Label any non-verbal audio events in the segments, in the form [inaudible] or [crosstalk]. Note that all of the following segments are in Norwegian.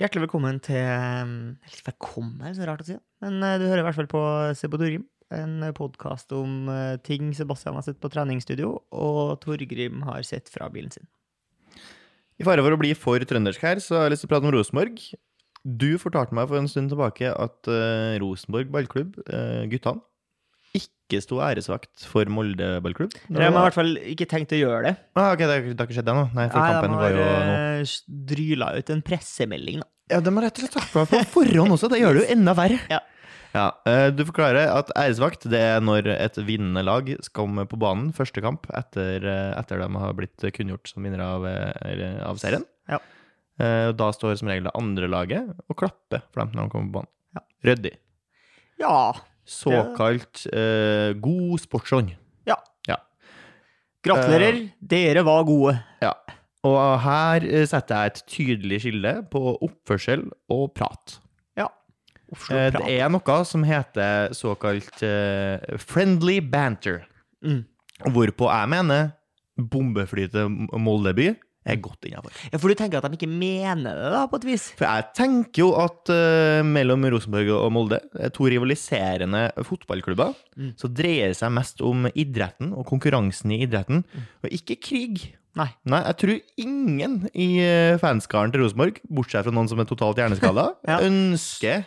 Hjertelig velkommen til ehm, Eller velkommen, det er så rart å si. det. Men eh, du hører i hvert fall på Se på Torgrim. En podkast om eh, ting Sebastian har sett på treningsstudio, og Torgrim har sett fra bilen sin. I fare for å bli for trøndersk her, så har jeg lyst til å prate om Rosenborg. Du fortalte meg for en stund tilbake at eh, Rosenborg ballklubb, eh, guttene, ikke sto æresvakt for Molde ballklubb. De har i hvert fall ikke tenkt å gjøre det. Ah, ok, det har det har ikke skjedd ennå. Nei, for Nei, kampen de var har jo nå. eh, dryla ut en pressemelding, da. Ja, de har rett og slett sagt meg på forhånd også. Det gjør det jo enda verre. Ja. Ja, eh, Du forklarer at æresvakt det er når et vinnende lag skal komme på banen første kamp etter, eh, etter de har blitt kunngjort som vinnere av, eh, eller av serien. Ja. Eh, og Da står som regel det andre laget og klapper for dem når de kommer på banen. Ja. Ryddig. Ja. Såkalt eh, god sportsånd. Gratulerer, dere var gode. Og her eh, setter jeg et tydelig skille på oppførsel og prat. Offshore Eh, prat. Det er noe som heter såkalt eh, friendly banter. Mm. Hvorpå jeg mener bombefly til M- Molde by er godt innafor. Ja, for du tenker at de ikke mener det, da, på et vis? For jeg tenker jo at eh, mellom Rosenborg og Molde, eh, to rivaliserende fotballklubber, Mm. så dreier det seg mest om idretten og konkurransen i idretten, og ikke krig. Mm. Nei. Nei, jeg tror ingen i eh, fanskaren til Rosenborg, bortsett fra noen som er totalt hjerneskada, [laughs] Ja. ønsker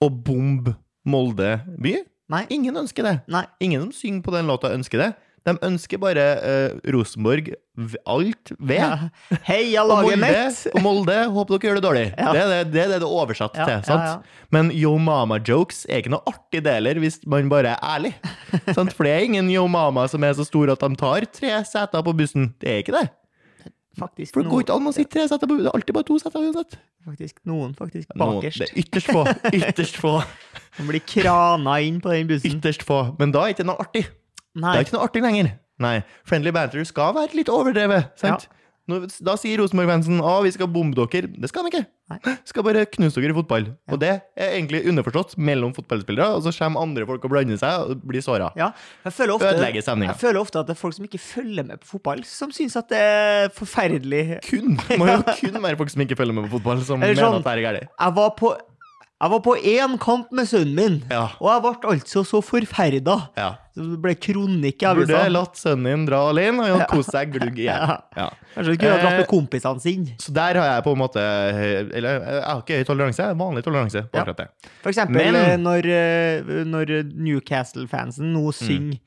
å bombe Molde by. Nei. Ingen ønsker det. Nei. Ingen som synger på den låta, ønsker det. De ønsker bare eh, Rosenborg v- alt ved. Ja. [laughs] Heia Og laget Molde, mitt! og Molde, håper dere gjør det dårlig. Ja. Det, er det, det er det det er oversatt Ja, til. ja, sant? ja. Men yo mama-jokes er ikke noe artig deler hvis man bare er [laughs] ærlig. sant? For det er ingen yo mama som er så stor at de tar tre seter på bussen. Det er ikke det. Faktisk, For det går noen, ikke an å sitte tre seter på bussen. Det er alltid bare to seter uansett. faktisk, noen faktisk Noen- bakerst. Det er ytterst få. Ytterst få. De blir krana inn på den bussen. Ytterst få. Men da er ikke det noe artig. Nei. Det er ikke noe artig lenger. Nei, friendly banter skal være litt overdrevet. Sant? Nå- da sier Rosenborg-fansen at vi skal bombe dere. Det skal de ikke. Nei. Skal bare knuse dere i fotball. Og det er egentlig underforstått mellom fotballspillere, og så kommer andre folk og blander seg og blir såra. Ja, jeg føler Ødelegger ofte, stemninga. jeg føler ofte at det er folk som ikke følger med på fotball, som syns at det er forferdelig. Kun, må jo kun være folk som ikke følger med på fotball, som Eller mener sånn. at det er galt. Jeg var på jeg var på én kamp med sønnen min, Ja. og jeg ble altså så forferda. Ja. Så Det ble kronikk i avisa. Burde latt sønnen din dra alene og kose seg glugg igjen. Ja. Ja. Kanskje du kunne ha dratt med Eh, kompisene sine. Så der har jeg på en måte eh, Eller jeg har ikke høy toleranse, jeg har vanlig toleranse på Ja. akkurat det. For eksempel men- eh, når, eh, når Newcastle-fansen nå synger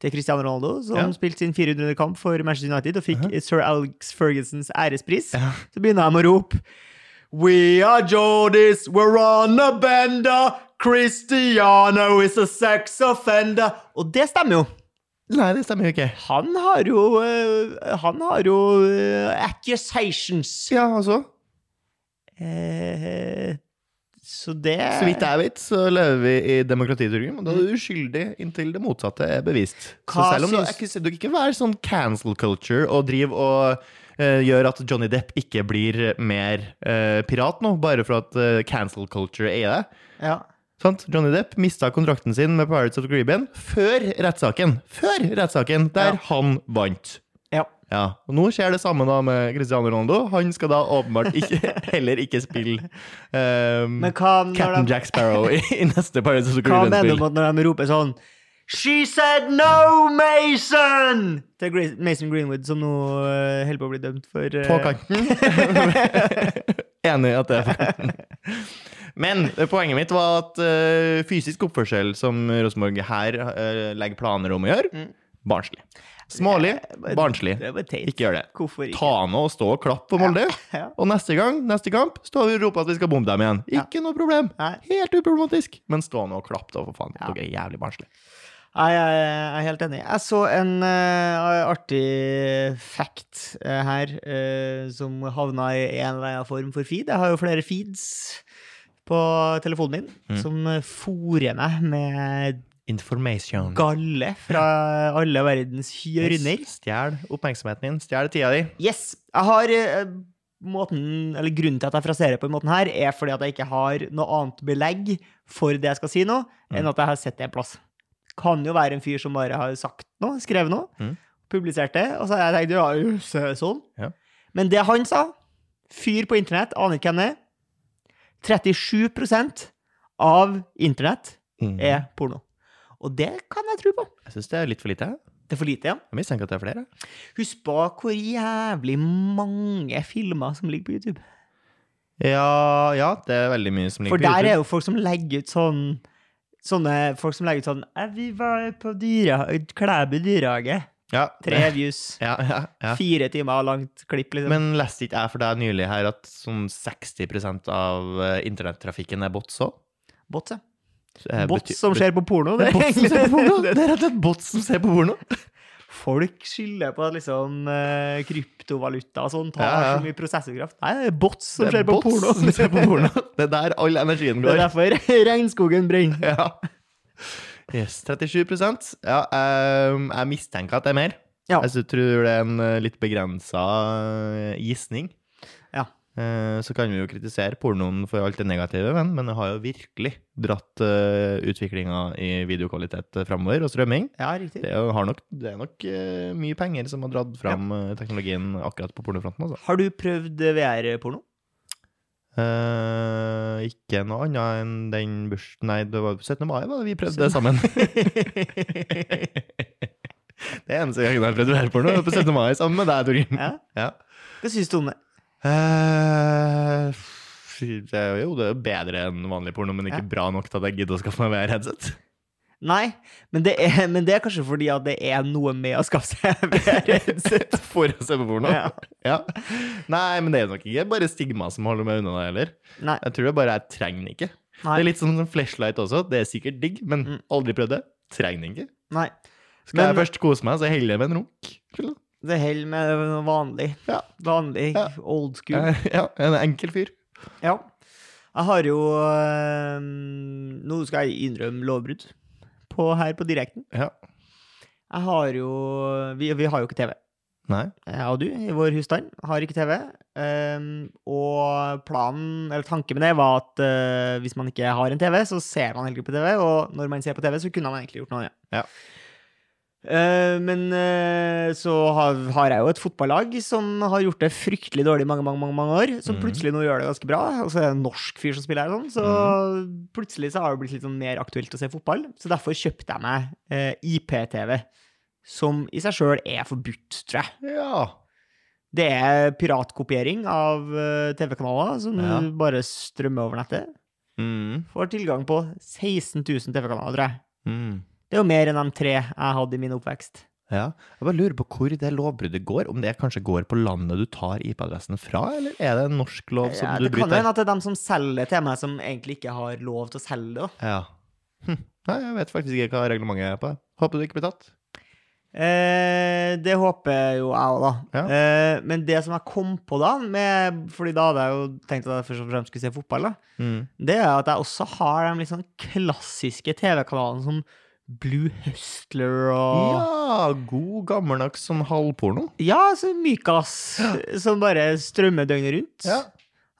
til Cristiano Ronaldo, som Mm. Ja. spilte sin 400. kamp for Manchester United og fikk sir Alex Fergusons ærespris, Ja. så begynner de å rope We are Jordis, we're on a bender, Cristiano is a sex offender. Og det stemmer jo. Nei, det stemmer jo ikke. Han har jo eh, Han har jo eh, accusations. Ja, altså. Eh, så det Så vidt jeg vet, så lever vi i demokratiet, Torgrim, og da er du uskyldig inntil det motsatte er bevist. Så Mm. Hva selv om du syns- ikke, du kan ikke være sånn cancel culture og drive og eh, gjør at Johnny Depp ikke blir mer eh, pirat nå, bare for at eh, cancel culture er det. ja. Sant? Johnny Depp mista kontrakten sin med Pirates of the Caribbean før rettssaken. Før rettssaken, der Ja. han vant. ja. Ja, og Nå skjer det samme da med Cristiano Ronaldo. Han skal da åpenbart ikke, [laughs] heller ikke spille um, Men hva når Captain de Jack Sparrow i, i neste Pirates of the Hva mener du Caribbean-spill. med at når de roper sånn She said no, Mason! Til Gre- Mason Greenwood, som nå eh, holder på å bli dømt for eh, På kanten. [laughs] Enig i at det er kanten. [laughs] Men eh, poenget mitt var at eh, fysisk oppførsel, som Rosenborg her eh, legger planer om å gjøre, Mm. barnslig. Smålig, men- barnslig. Det var teit. Ikke gjør det. Hvorfor ikke? Ta nå og stå og klapp for Molde. Ja. Og neste gang, neste kamp, står vi og roper at vi skal bombe dem igjen. Ja. Ikke noe problem. Nei. Helt uproblematisk. Men stå nå og klapp, da, for faen. Ja. Dere er jævlig barnslige. Nei, jeg, jeg er helt enig. Jeg så en eh, artig fact eh, her eh, som havna i en eller annen form for feed. Jeg har jo flere feeds på telefonen min Mm. som eh, fôrer meg med Information. galle fra alle verdens hjørner. Stjel oppmerksomheten din. Stjel tida di. Yes. Jeg har eh, måten, eller Grunnen til at jeg fraserer på den måten her, er fordi at jeg ikke har noe annet belegg for det jeg skal si nå, Mm. enn at jeg har sett det en plass. Kan jo være en fyr som bare har sagt noe, skrevet noe, Mm. publisert det, og så har jeg tenkt ja, jo, så- sånn. Ja. Men det han sa, fyr på internett, aner ikke hvem det er, 37 av internett Mm. er porno. Og det kan jeg tro på. Jeg syns det er litt for lite. jeg. Det er for lite igjen. Jeg mistenker at det er flere. jeg. Husk på hvor jævlig mange filmer som ligger på YouTube. Ja, ja, det er veldig mye som ligger For der er jo folk som legger ut sånn Sånne folk som legger ut sånn «Eh, 'Vi var på dyre, Klæbu dyrehage'. ja, Tre views. Ja, ja, ja. Fire timer langt klipp, liksom. Men leste ikke jeg for deg nylig her at sånn 60 av eh, internettrafikken er bots òg? bots, ja. Bots som ser på porno. Det Det er er Eh, bots som ser på porno! egentlig Det er rett og slett bots som ser på porno. Folk skylder på at liksom eh, kryptovaluta og sånn tar Ja, ja. så mye prosessorkraft. Nei, det er bots som Det er ser på bots porno. som ser på porno. Det er der all [laughs] energien Det er går. derfor [laughs] regnskogen brenner. Ja. Yes, 37 Ja, ehm, jeg mistenker at det er mer. Ja. Jeg sy- tror det er en eh, litt begrensa eh, gissning. Ja. Eh, Så kan vi jo kritisere pornoen for alt det negative, men, men det har jo virkelig dratt eh, utviklinga i videokvalitet framover, og strømming. Ja, riktig. Det er, jo- har nok, det er nok eh, mye penger som har dratt fram eh, teknologien akkurat på pornofronten, altså. Har du prøvd VR-porno? Eh, ikke noe annet enn den burs... Nei, det var 17. mai var det vi prøvde sammen. [laughs] det er eneste gangen jeg har prøvd å være porno, det var på 17. mai sammen med deg, Torgrim. [laughs] Ja. Ja. Hva syns du om det? Eh, fy, det er jo, det er jo bedre enn vanlig porno, men ikke bra nok til at jeg gidder å skaffe meg [laughs] VR-headset. Nei, men det, er, men det er kanskje fordi at det er noe med å skaffe seg VR-headset. For å se på porno. Ja. [laughs] Ja. Nei, men det er nok ikke bare stigma som holder meg unna det heller. Nei. Jeg tror det bare jeg trenger den ikke. Nei. Det er litt sånn som flashlight også. Det er sikkert digg, men Mm. aldri prøvd det. Trenger den ikke. Nei. Skal jeg Men- først kose meg, så heller jeg med en runk. Det holder med noe vanlig. Ja. Vanlig, Ja. old school. Ja, Eh, ja, en enkel fyr. Ja. Jeg har jo eh, Nå skal jeg innrømme lovbrudd på, her på direkten. Ja. Jeg har jo Vi, vi har jo ikke TV. Nei. Jeg og du i vår husstand har ikke TV. ehm, og planen, eller tanken med det, var at eh, hvis man ikke har en TV, så ser man egentlig på TV, og når man ser på TV, så kunne man egentlig gjort noe annet. Ja. Eh, men eh, så har, har jeg jo et fotballag som har gjort det fryktelig dårlig i mange mange, mange, mange år, som Mhm. plutselig nå gjør det ganske bra. Og så er det en norsk fyr som spiller her, og sånn, så Mhm. plutselig så har det blitt litt sånn mer aktuelt å se fotball. Så derfor kjøpte jeg meg eh, IPTV, som i seg sjøl er forbudt, tror jeg. Ja. Det er piratkopiering av eh, TV-kanaler som Ja. du bare strømmer over nettet. Mm. Får tilgang på 16 000 TV-kanaler, tror jeg. Mm. Det er jo mer enn de tre jeg hadde i min oppvekst. Ja. Jeg bare lurer på hvor det lovbruddet går. Om det kanskje går på landet du tar IP-adressen fra, eller er det en norsk lov som Ja, du det kan jo bryter? hende at det er dem som selger det til meg, som egentlig ikke har lov til å selge det. da. Ja. Hm. Nei, jeg vet faktisk ikke hva reglementet er på. Håper du ikke blir tatt. Eh, det håper jo jeg òg, da. Ja. Eh, men det som jeg kom på da, med, fordi da hadde jeg jo tenkt at jeg først og fremst skulle se fotball, da, Mm. det er at jeg også har de litt sånn klassiske TV-kanalene som Blue Hustler og Ja, god gammeldags sånn halvporno. Ja, så mykas som bare strømmer døgnet rundt. Ja.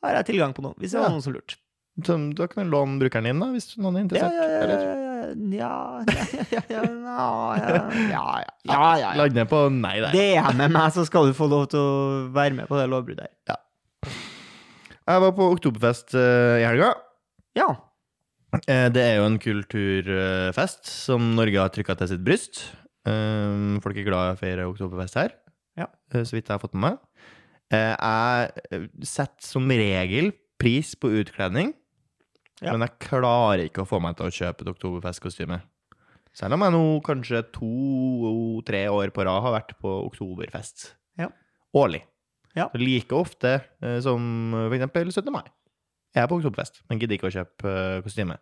Har jeg tilgang på noe, hvis det Ja. var noen som lurte. Så Da kan du låne brukeren din, da, hvis noen er Ja, interessert. ja, ja, eller? ja, ja, ja, ja, ja, ja, ja, ja. Lande på nei der. Det er med meg, så skal du få lov til å være med på det lovbruddet her. Jeg var på oktoberfest eh, i helga. Ja. Eh, Det er jo en kulturfest eh, som Norge har trykka til sitt bryst. Eh, Folk er glad i å feire oktoberfest her, Ja. eh, så vidt jeg har fått med meg. Eh, Jeg eh, setter som regel pris på utkledning, Ja. men jeg klarer ikke å få meg til å kjøpe et oktoberfestkostyme. Selv om jeg nå kanskje to-tre år på rad har vært på oktoberfest. Ja. Årlig. Ja. Så Like ofte eh, som for eksempel 17. mai. Jeg er på oktoberfest, men gidder ikke å kjøpe eh, kostyme.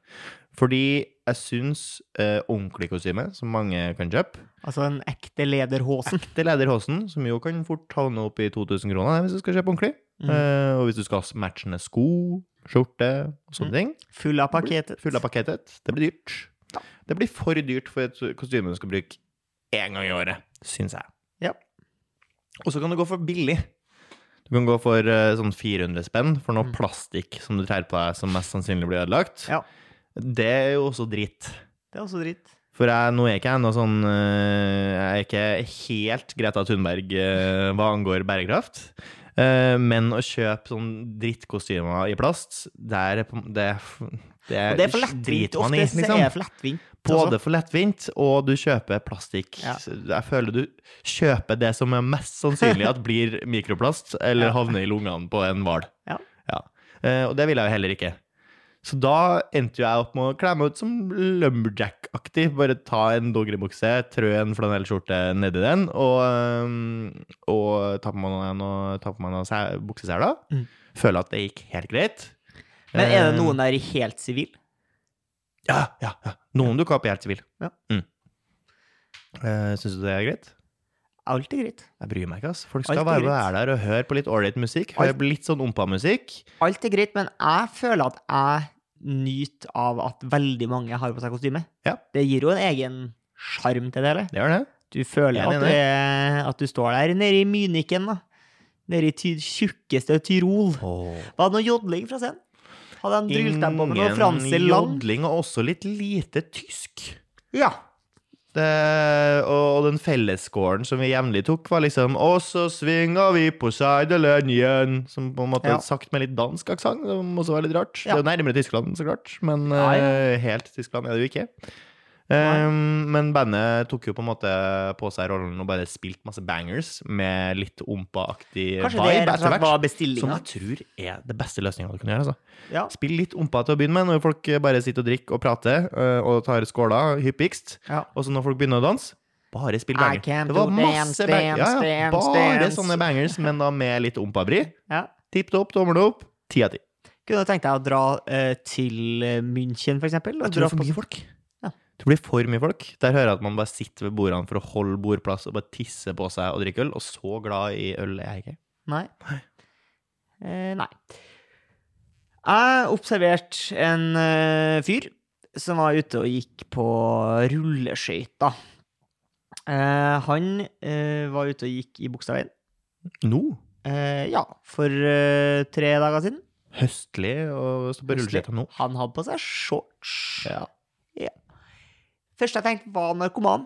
Fordi jeg syns eh, ordentlig kostyme, som mange kan [laughs] kjøpe Altså en ekte lederhosen. Ekte lederhosen, som jo kan fort havne opp i 2000 kroner det, hvis du skal kjøpe ordentlig. Mhm. Eh, og hvis du skal ha matchende sko, skjorte og sånne Mhm. ting. Full av pakketet. Full av pakketet. Det blir dyrt. Det blir for dyrt for et kostyme du skal bruke én gang i året, syns jeg. Ja. Og så kan du gå for billig. Du kan gå for eh, sånn 400 spenn for noe plastikk som du trær på deg, som mest sannsynlig blir ødelagt. Mm. Ja. Det er jo også dritt. Det er også dritt. For jeg, nå er ikke jeg noe sånn eh, Jeg er ikke helt Greta Thunberg eh, hva angår bærekraft. Eh, men å kjøpe sånn drittkostymer i plast, der er på- det, det, Og det er for lettvint. driter man i, Ofte så liksom. er det for lettvint. altså. Både for lettvint, og du kjøper plastikk. Ja. Så Jeg føler du kjøper det som er mest sannsynlig [laughs] at blir mikroplast, eller Ja. havner i lungene på en hval. Ja. Eh, og det ville jeg jo heller ikke. Så da endte jo jeg opp med å kle meg ut som lumberjack-aktig. Bare ta en dongeribukse, trø en flanellskjorte nedi den, og, eh, og ta på meg noen, og ta på meg noen sæ- bukseseler. Mm. Føler at det gikk helt greit. Men er det Eh, noen der i helt sivil? ja, ja, ja. Noen dukker opp i helt sivil. Ja. Mm. Eh, Syns du det er greit? Alt er greit. Jeg bryr meg ikke, ass. Folk skal Alt er bare greit. være der og høre på litt ålreit musikk. Høre Alt- på litt sånn ompa-musikk. Alt er greit, men jeg føler at jeg nyter av at veldig mange har på seg kostyme. Ja. Det gir jo en egen sjarm til det hele. Det gjør det. Du føler Jeg at, er enig. det, er- at du står der nede i Myniken, da. Nede i ty tjukkeste Tyrol. Var det noe jodling fra scenen? Hadde de drylt dem på med noe franske land? jodling, og også litt lite tysk. Ja. Det, og, og den fellesskåren som vi jevnlig tok, var liksom Og så svinger vi på sidelinjen. Som på en måte Ja. sagt med litt dansk aksent, som også var litt rart. Ja. Det er jo nærmere Tyskland, så klart, men Ja, ja. eh, helt Tyskland er det jo ikke. Nei. Um, men bandet tok jo på en måte på seg rollen og bare spilte masse bangers med litt ompa-aktig vibe Kanskje det rett og etter slett hvert. var Som bestillinga? jeg tror er det beste løsninga du kan gjøre. altså. Ja. Spill litt ompa til å begynne med, når folk bare sitter og drikker og prater øh, og tar skåler hyppigst. Ja. Og så når folk begynner å danse, bare spill I banger. can't Det var do masse dance, banger. Ja, ja. dance, Bare dance. sånne bangers, men da med litt ompa-bri. ja. Tipp topp, tommel opp. Ti av ti. Kunne du tenkt deg å dra eh, til eh, München, for eksempel? og Jeg tror det dra er for på- mye folk. Ja. Det blir for mye folk. Der hører jeg at man bare sitter ved bordene for å holde bordplass og bare tisse på seg og drikke øl. Og så glad i øl er jeg ikke. Nei. Eh, nei. Jeg observerte en eh, fyr som var ute og gikk på rulleskøyter. Eh, han eh, var ute og gikk i Bogstadveien. Nå? Eh, ja, for eh, tre dager siden. Høstlig og står på rulleskøyta nå. Han hadde på seg shorts. Ja. Første jeg tenkte, var narkoman.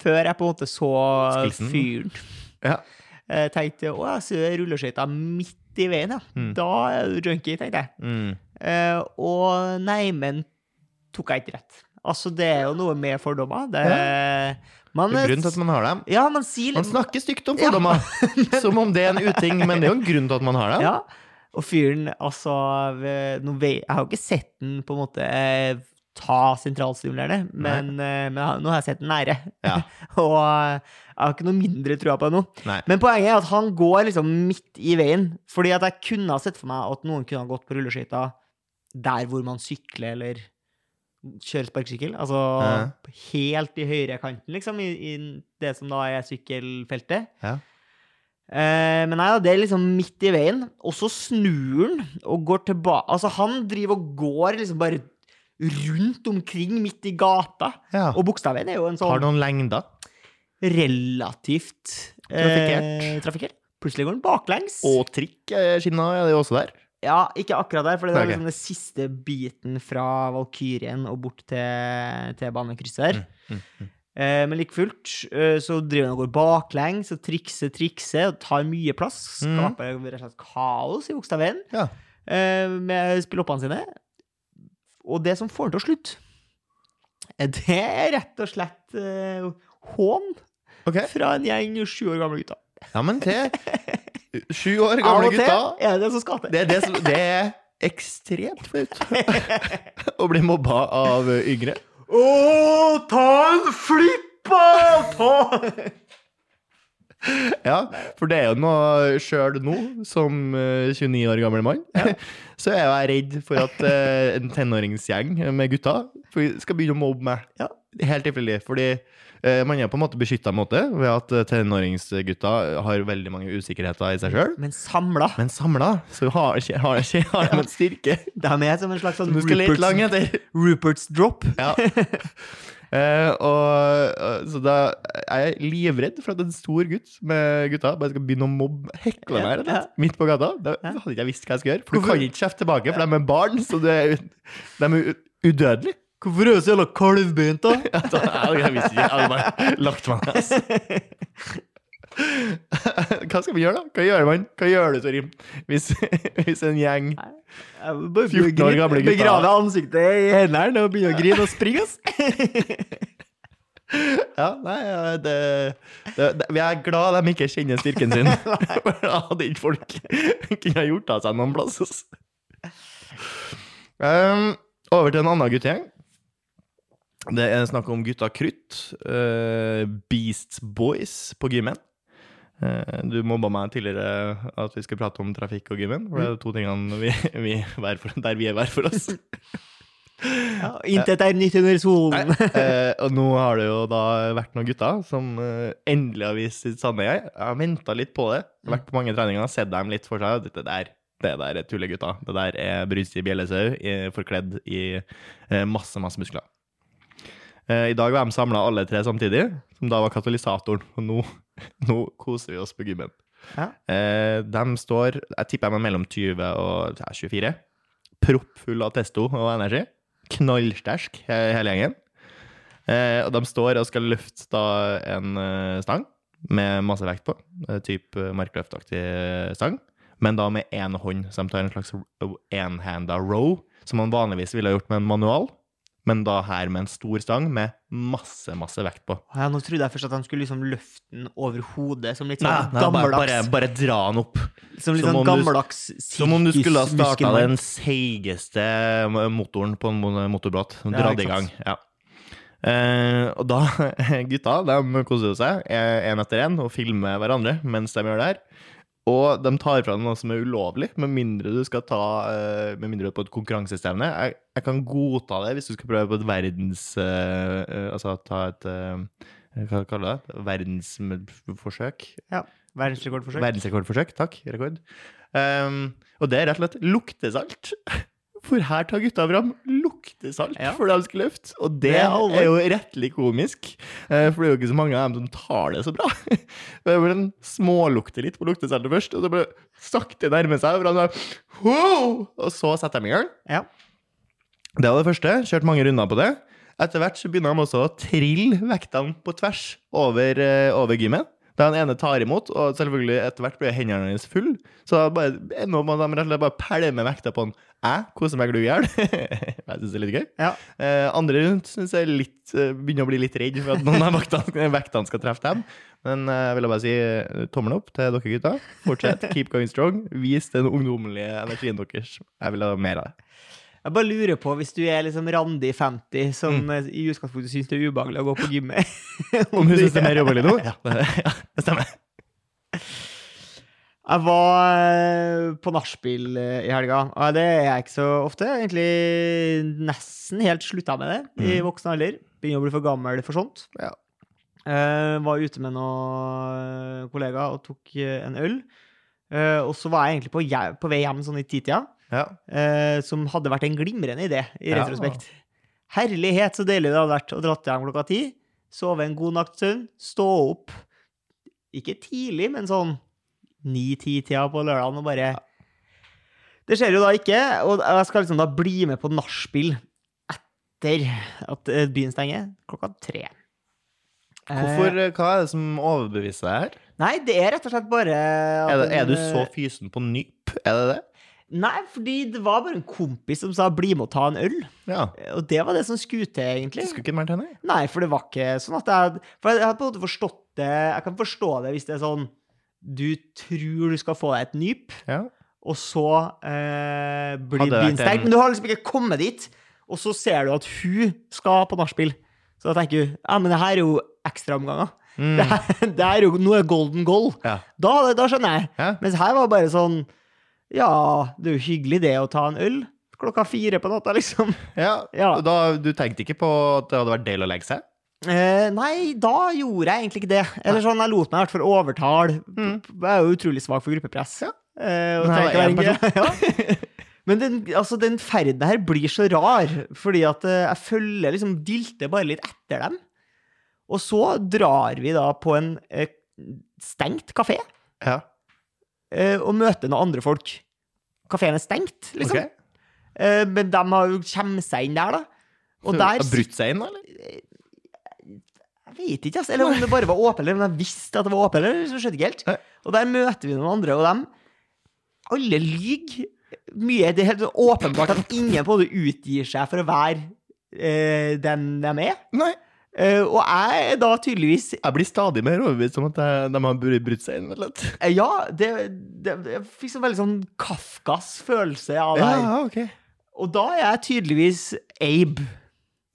Før jeg på en måte så Skilsen. fyren. Ja. Jeg tenkte å, jeg ser rulleskøyta midt i veien, ja. Mm. Da er du junkie, tenkte jeg. Mm. Eh, og neimen tok jeg ikke rett. Altså, det er jo noe med fordommer. Det, man, Det er grunnen til at man har dem. Ja, man sier Man snakker stygt om fordommer, [laughs] som om det er en uting, men det er jo en grunn til at man har dem. Ja. Og fyren, altså ved- nå ve- Jeg har jo ikke sett den på en måte eh, ta sentralstimulerende, Nei. men, eh, men jeg har- nå har jeg sett den nære. Ja. [laughs] Og eh, jeg har ikke noe mindre trua på det nå. Nei. Men poenget er at han går liksom midt i veien. Fordi at jeg kunne ha sett for meg at noen kunne ha gått på rulleskøyter der hvor man sykler eller kjører sparkesykkel. Altså helt i høyrekanten, liksom, i, i det som da er sykkelfeltet. Eh, men nei, da, det er liksom midt i veien. Og så snur han og går tilbake Altså, han driver og går liksom bare rundt omkring midt i gata. Ja. Og Bogstadveien er jo en Har sånn noen lengder. relativt eh, Trafikkert. trafikkert. Plutselig går han baklengs. Og trikkskinna er jo også der. Ja, ikke akkurat der, for det Nei, er ok. liksom den siste biten fra Valkyrien og bort til T-banekrysset der. mm, Eh, Men like fullt eh, så driver han og går baklengs og trikser, trikser og tar mye plass. Mhm. Skaper rett og slett kaos i Bogstadveien Ja. eh, med spilloppene sine. Og det som får han til å slutte, eh, det er rett og slett eh, hån Ok. fra en gjeng sju år gamle gutter. Ja, men til sju år gamle gutter er det det som skal til. Det er, det som, det er ekstremt flaut [laughs] å bli mobba av eh, yngre. Å, ta en flipp, da! Ta Ja, for det er jo noe sjøl nå, som eh, 29 år gammel mann, [laughs] så er jo jeg redd for at eh, en tenåringsgjeng med gutter for- skal begynne å mobbe meg. Ja. Helt tilfeldig. Fordi eh, man er på en måte beskytta måte ved at eh, tenåringsgutter har veldig mange usikkerheter i seg sjøl. Men samla. Men samla så har, har, har de en styrke De er som en slags sånn som du skal lete Rupert's, langt etter. Rupert's drop. Ja. [laughs] Eh, og, eh, så da er jeg livredd for at en stor gutt med gutta bare skal begynne å mobbe hekle meg rett og slett, midt på gata. Da Ja. hadde ikke jeg visst hva jeg skulle gjøre. For du Hvorfor- kan ikke kjefte tilbake, for de er barn, så de er, de er u- udødelige. Hvorfor er du så jævla [laughs] kalvbeint, da? Ja, da- Jeg hadde- jeg visste ikke. Jeg hadde bare lagt meg ned. ass. altså. [laughs] Hva skal vi gjøre, da? Hva gjør man? Hva gjør du, Torim? Hvis, [laughs] hvis en gjeng Jeg må bare 14 år begynne å grine. gamle gutta. Begrave ansiktet i hendene og begynne å grine og springe, [laughs] ass. Ja, nei, ja, det, det, det, vi er glad de ikke kjenner styrken sin. For da hadde ikke folk kunne ha gjort av seg noen plass. ass. Ehm, over til en annen guttegjeng. Det er snakk om gutta krutt. eh, Beast Boys på gymmen. Eh, du mobba meg tidligere at vi skulle prate om trafikk og gymmen. For det er de to tingene vi, vi, hver for, der vi er hver for oss. Ja, Intet er nytt under solen. Nei, [laughs] eh, og nå har det jo da vært noen gutter som eh, endelig har vist sitt sanne jeg. Jeg har venta litt på det. Jeg har vært på mange treninger og sett dem litt for seg. og Dette der, det der er tullegutter. Det der er Brunstid Bjellesau eh, forkledd i eh, masse, masse muskler. Eh, I dag var de samla alle tre samtidig, som da var katalysatoren. Og nå, [laughs] nå koser vi oss på gymmen. Ja. Eh, de står, jeg tipper de er mellom 20 og ja, 24, proppfull av testo og energi. Knallsterk, he- hele gjengen. Eh, og de står og skal løfte da en eh, stang med masse vekt på, eh, typ eh, markløftaktig eh, stang, men da med én hånd, så de tar en slags enhanda row, som man vanligvis ville ha gjort med en manual, men da her med en stor stang med masse, masse vekt på. Ja, nå trodde jeg først at han skulle liksom løfte den over hodet, som litt Nei, sånn nei, bare, bare, gammeldags bare dra den opp. Som litt som sånn om du- gammeldags Som om du skulle ha starta sirkusmuskelmann. den seigeste motoren på en mon- motorbåt. Ja, Dratt ikke i gang. sant. Ja. Eh, og da, [laughs] gutta, de koser seg én etter én og filmer hverandre mens de gjør det her. Og de tar fra deg noe som er ulovlig, med mindre du skal ta eh, Med mindre du er på et konkurransestevne. Jeg, jeg kan godta det hvis du skal prøve på et verdens eh, eh, Altså ta et eh, Hva kaller du det? Verdensforsøk? Verdensrekordforsøk. Verdensrekordforsøk, takk. Rekord. Ehm, og det er rett og slett luktesalt. [laughs] For her tar gutta fram luktesalt Ja. for det de skal løfte. Og det, Det er alvor. er jo rettelig komisk, eh, for det er jo ikke så mange av dem som tar det så bra. [laughs] Det er bare Den smålukter litt på luktesaltet først, og så bare sakte nærmer seg. Og, bare, «Wow!» og så setter de i gang. Ja. Det var det første. Kjørte mange runder på det. Etter hvert så begynner de også å trille vektene på tvers over, eh, over gymmen. Da den ene tar imot, og selvfølgelig etter hvert blir hendene hennes full, så da bare, nå må de rett og slett bare pælme vekta på den. Jeg koser meg glugg i hjel. [laughs] Jeg syns det er litt gøy. Ja. Eh, andre rundt syns jeg er litt, eh, begynner å bli litt redd for at noen av vektene, [laughs] vektene skal treffe dem. Men eh, jeg vil bare si eh, tommel opp til dere gutta. Fortsett. Keep going strong. Vis den ungdommelige energien deres. Jeg vil ha mer av det. Jeg bare lurer på, hvis du er liksom Randi 50, som eh, i utgangspunktet syns det er ubehagelig å gå på gymmet Om hun syns det er [laughs] mer jobbelig nå? Ja, det, [laughs] ja, det stemmer. Jeg var eh, på nachspiel eh, i helga, og det er jeg ikke så ofte. Jeg har Egentlig nesten helt slutta med det i voksen alder. Begynner å bli for gammel for sånt. Ja. Eh, var ute med noen kollegaer og tok eh, en øl. Eh, og så var jeg egentlig på, je- på vei hjem sånn i titida, Ja. eh, som hadde vært en glimrende idé i Ja. retrospekt. Herlighet, så deilig det hadde vært å dratt hjem klokka ti, sove en god natts søvn, stå opp Ikke tidlig, men sånn ni-ti-tida på lørdagen og bare Det skjer jo da ikke, og jeg skal liksom da bli med på nachspiel etter at eh, byen stenger, klokka tre. Hvorfor, Eh, eh, hva er det som overbeviser deg her? nei, det er rett og slett bare at Er, det, er du en, så eh, fysen på nyp? Er det det? Nei, fordi det var bare en kompis som sa 'bli med og ta en øl'. Ja. Og det var det som skulle til, egentlig. Det skulle ikke vært henne. Nei, for det var ikke sånn at jeg For jeg har på en måte forstått det Jeg kan forstå det hvis det er sånn Du tror du skal få deg et nyp, Ja. og så eh, blir Hadde det vært byen sterk. en- Men du har liksom ikke kommet dit, og så ser du at hun skal på nachspiel. Så da tenker du ja, men det her er jo ekstraomganger. Mm. Det, her- [laughs] det her er jo Nå er golden goal. Ja. Da, da skjønner jeg. Ja. Mens her var det bare sånn Ja, det er jo hyggelig det å ta en øl klokka fire på natta, liksom. ja. Ja. Og Da, du tenkte ikke på at det hadde vært deilig å legge seg? Eh, nei, da gjorde jeg egentlig ikke det. Eller sånn, Jeg lot meg i hvert fall overtale. Mm. P- Jeg er jo utrolig svak for gruppepress. Eh, og Nei, ta det en en [laughs] ja. Men den, altså, den ferden her blir så rar, fordi at eh, jeg følger liksom dilter bare litt etter dem. Og så drar vi da på en eh, stengt kafé Ja. eh, og møter noen andre folk. Kafeen er stengt, Ok. liksom. Eh, men de har jo kommet seg inn der, da. Og der Har brutt seg inn, da, eller? Jeg vet ikke, altså. Eller om det bare var åpen, eller om de visste at det var åpen, eller så skjønte jeg ikke Nei. helt. Og der møter vi noen andre, og dem Alle lyver mye. Det er helt åpenbart at ingen på en måte utgir seg for å være eh, den de er. Nei. Eh, og jeg er da tydeligvis Jeg blir stadig mer overbevist om at eh, de har br- brutt seg inn. Eller? eh, Ja, det, det, jeg fikk sånn veldig sånn Kafkas følelse av det her. Ja, ok. Og da er jeg tydeligvis Abe.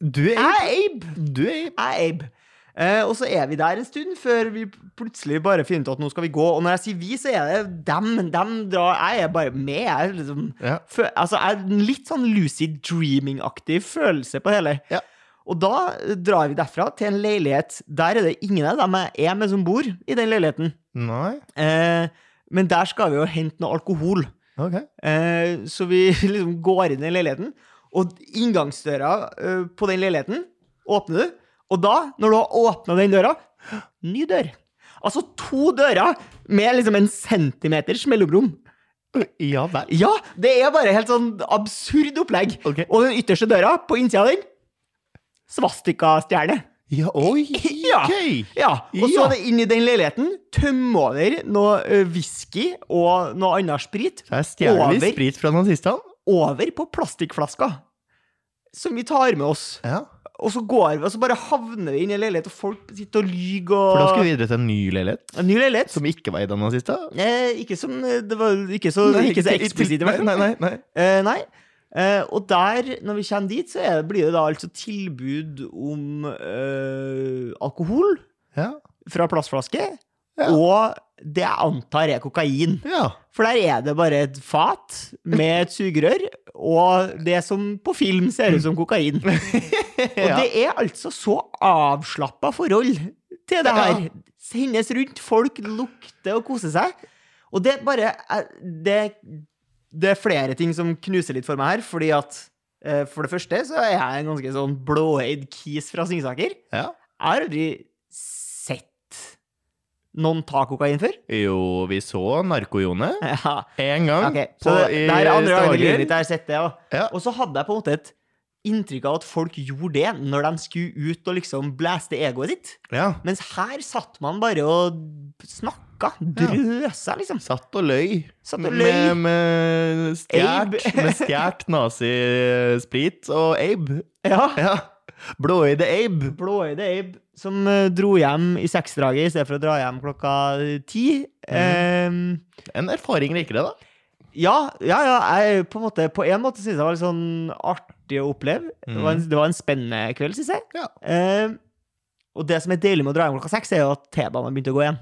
Du er Jeg er Abe! Du er Jeg er Abe. Eh, og så er vi der en stund før vi plutselig bare finner ut at nå skal vi gå. Og når jeg sier vi, så er det dem. dem drar, jeg er bare med. Jeg er liksom, Ja. fø- altså, jeg er en litt sånn lucid dreaming-aktig følelse på det hele. Ja. Og da eh, drar vi derfra til en leilighet. Der er det ingen av dem jeg er med, som bor i den leiligheten. Nei. Eh, men der skal vi jo hente noe alkohol. Ok. Eh, så vi [laughs] liksom går inn i leiligheten, og inngangsdøra eh, på den leiligheten åpner du. Og da, når du har åpna den døra, [gasps] ny dør. Altså to dører med liksom en centimeters mellomrom. Ja vel. Ja, det er bare helt sånn absurd opplegg. Ok. Og den ytterste døra, på innsida av den, svastikastjerne. Ja, oi. Ja. ok. Ja, og så Ja. er det inn i den leiligheten, tømme over noe eh, whisky og noe annen sprit. Så her stjeler vi Over. sprit fra nazistene. over på plastikkflaska som vi tar med oss. Ja. Og så går vi, og så bare havner vi inn i en leilighet, og folk sitter og lyver. Og... For da skulle vi videre til en ny leilighet En ny leilighet. som ikke var eid av nazister. Eh, ikke som eh, Det var ikke så, ikke så eksplisitt, i hvert fall. Nei, nei, nei. Eh, nei. Eh, og der, når vi kommer dit, så er, blir det da altså tilbud om eh, alkohol Ja. fra plastflaske, Ja. og det jeg antar er kokain. ja. For der er det bare et fat med et sugerør og det som på film ser ut som kokain. Og Ja. det er altså så avslappa forhold til det her. Sendes rundt, folk lukter og koser seg. Og det er bare eh, det, det er flere ting som knuser litt for meg her, fordi at eh, for det første så er jeg en ganske sånn blåøyd kis fra Singsaker. Jeg ja. har aldri sett noen ta kokain før. [laughs] Jo, vi så Narko-Jone Ja. en gang. Ok, på, så det, i det her er andre gangen i Stavanger. livet mitt jeg har sett det. Og, Ja. og så hadde jeg på en måte et inntrykk av at folk gjorde det når de skulle ut og liksom blæste egoet sitt. Ja. Mens her satt man bare og snakka, drøsa, liksom. Satt og løy. Satt og løy. Med, med stjert, Abe. med stjert nazisprit og Abe. Ja. Ja. Blåøyde Abe. Blåøyde Abe som eh, dro hjem i seksdraget i stedet for å dra hjem klokka ti. Eh, En erfaring rikere, da. Ja, ja, ja jeg, på, en måte, på en måte synes jeg det var litt sånn artig å oppleve. Det, var en, det var en spennende kveld, synes jeg. Ja. Eh, og det som er deilig med å dra hjem klokka seks, er jo at T-banen har begynt å gå igjen.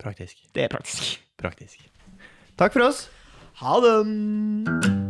Praktisk. Det er praktisk. Praktisk. Takk for oss. Ha det!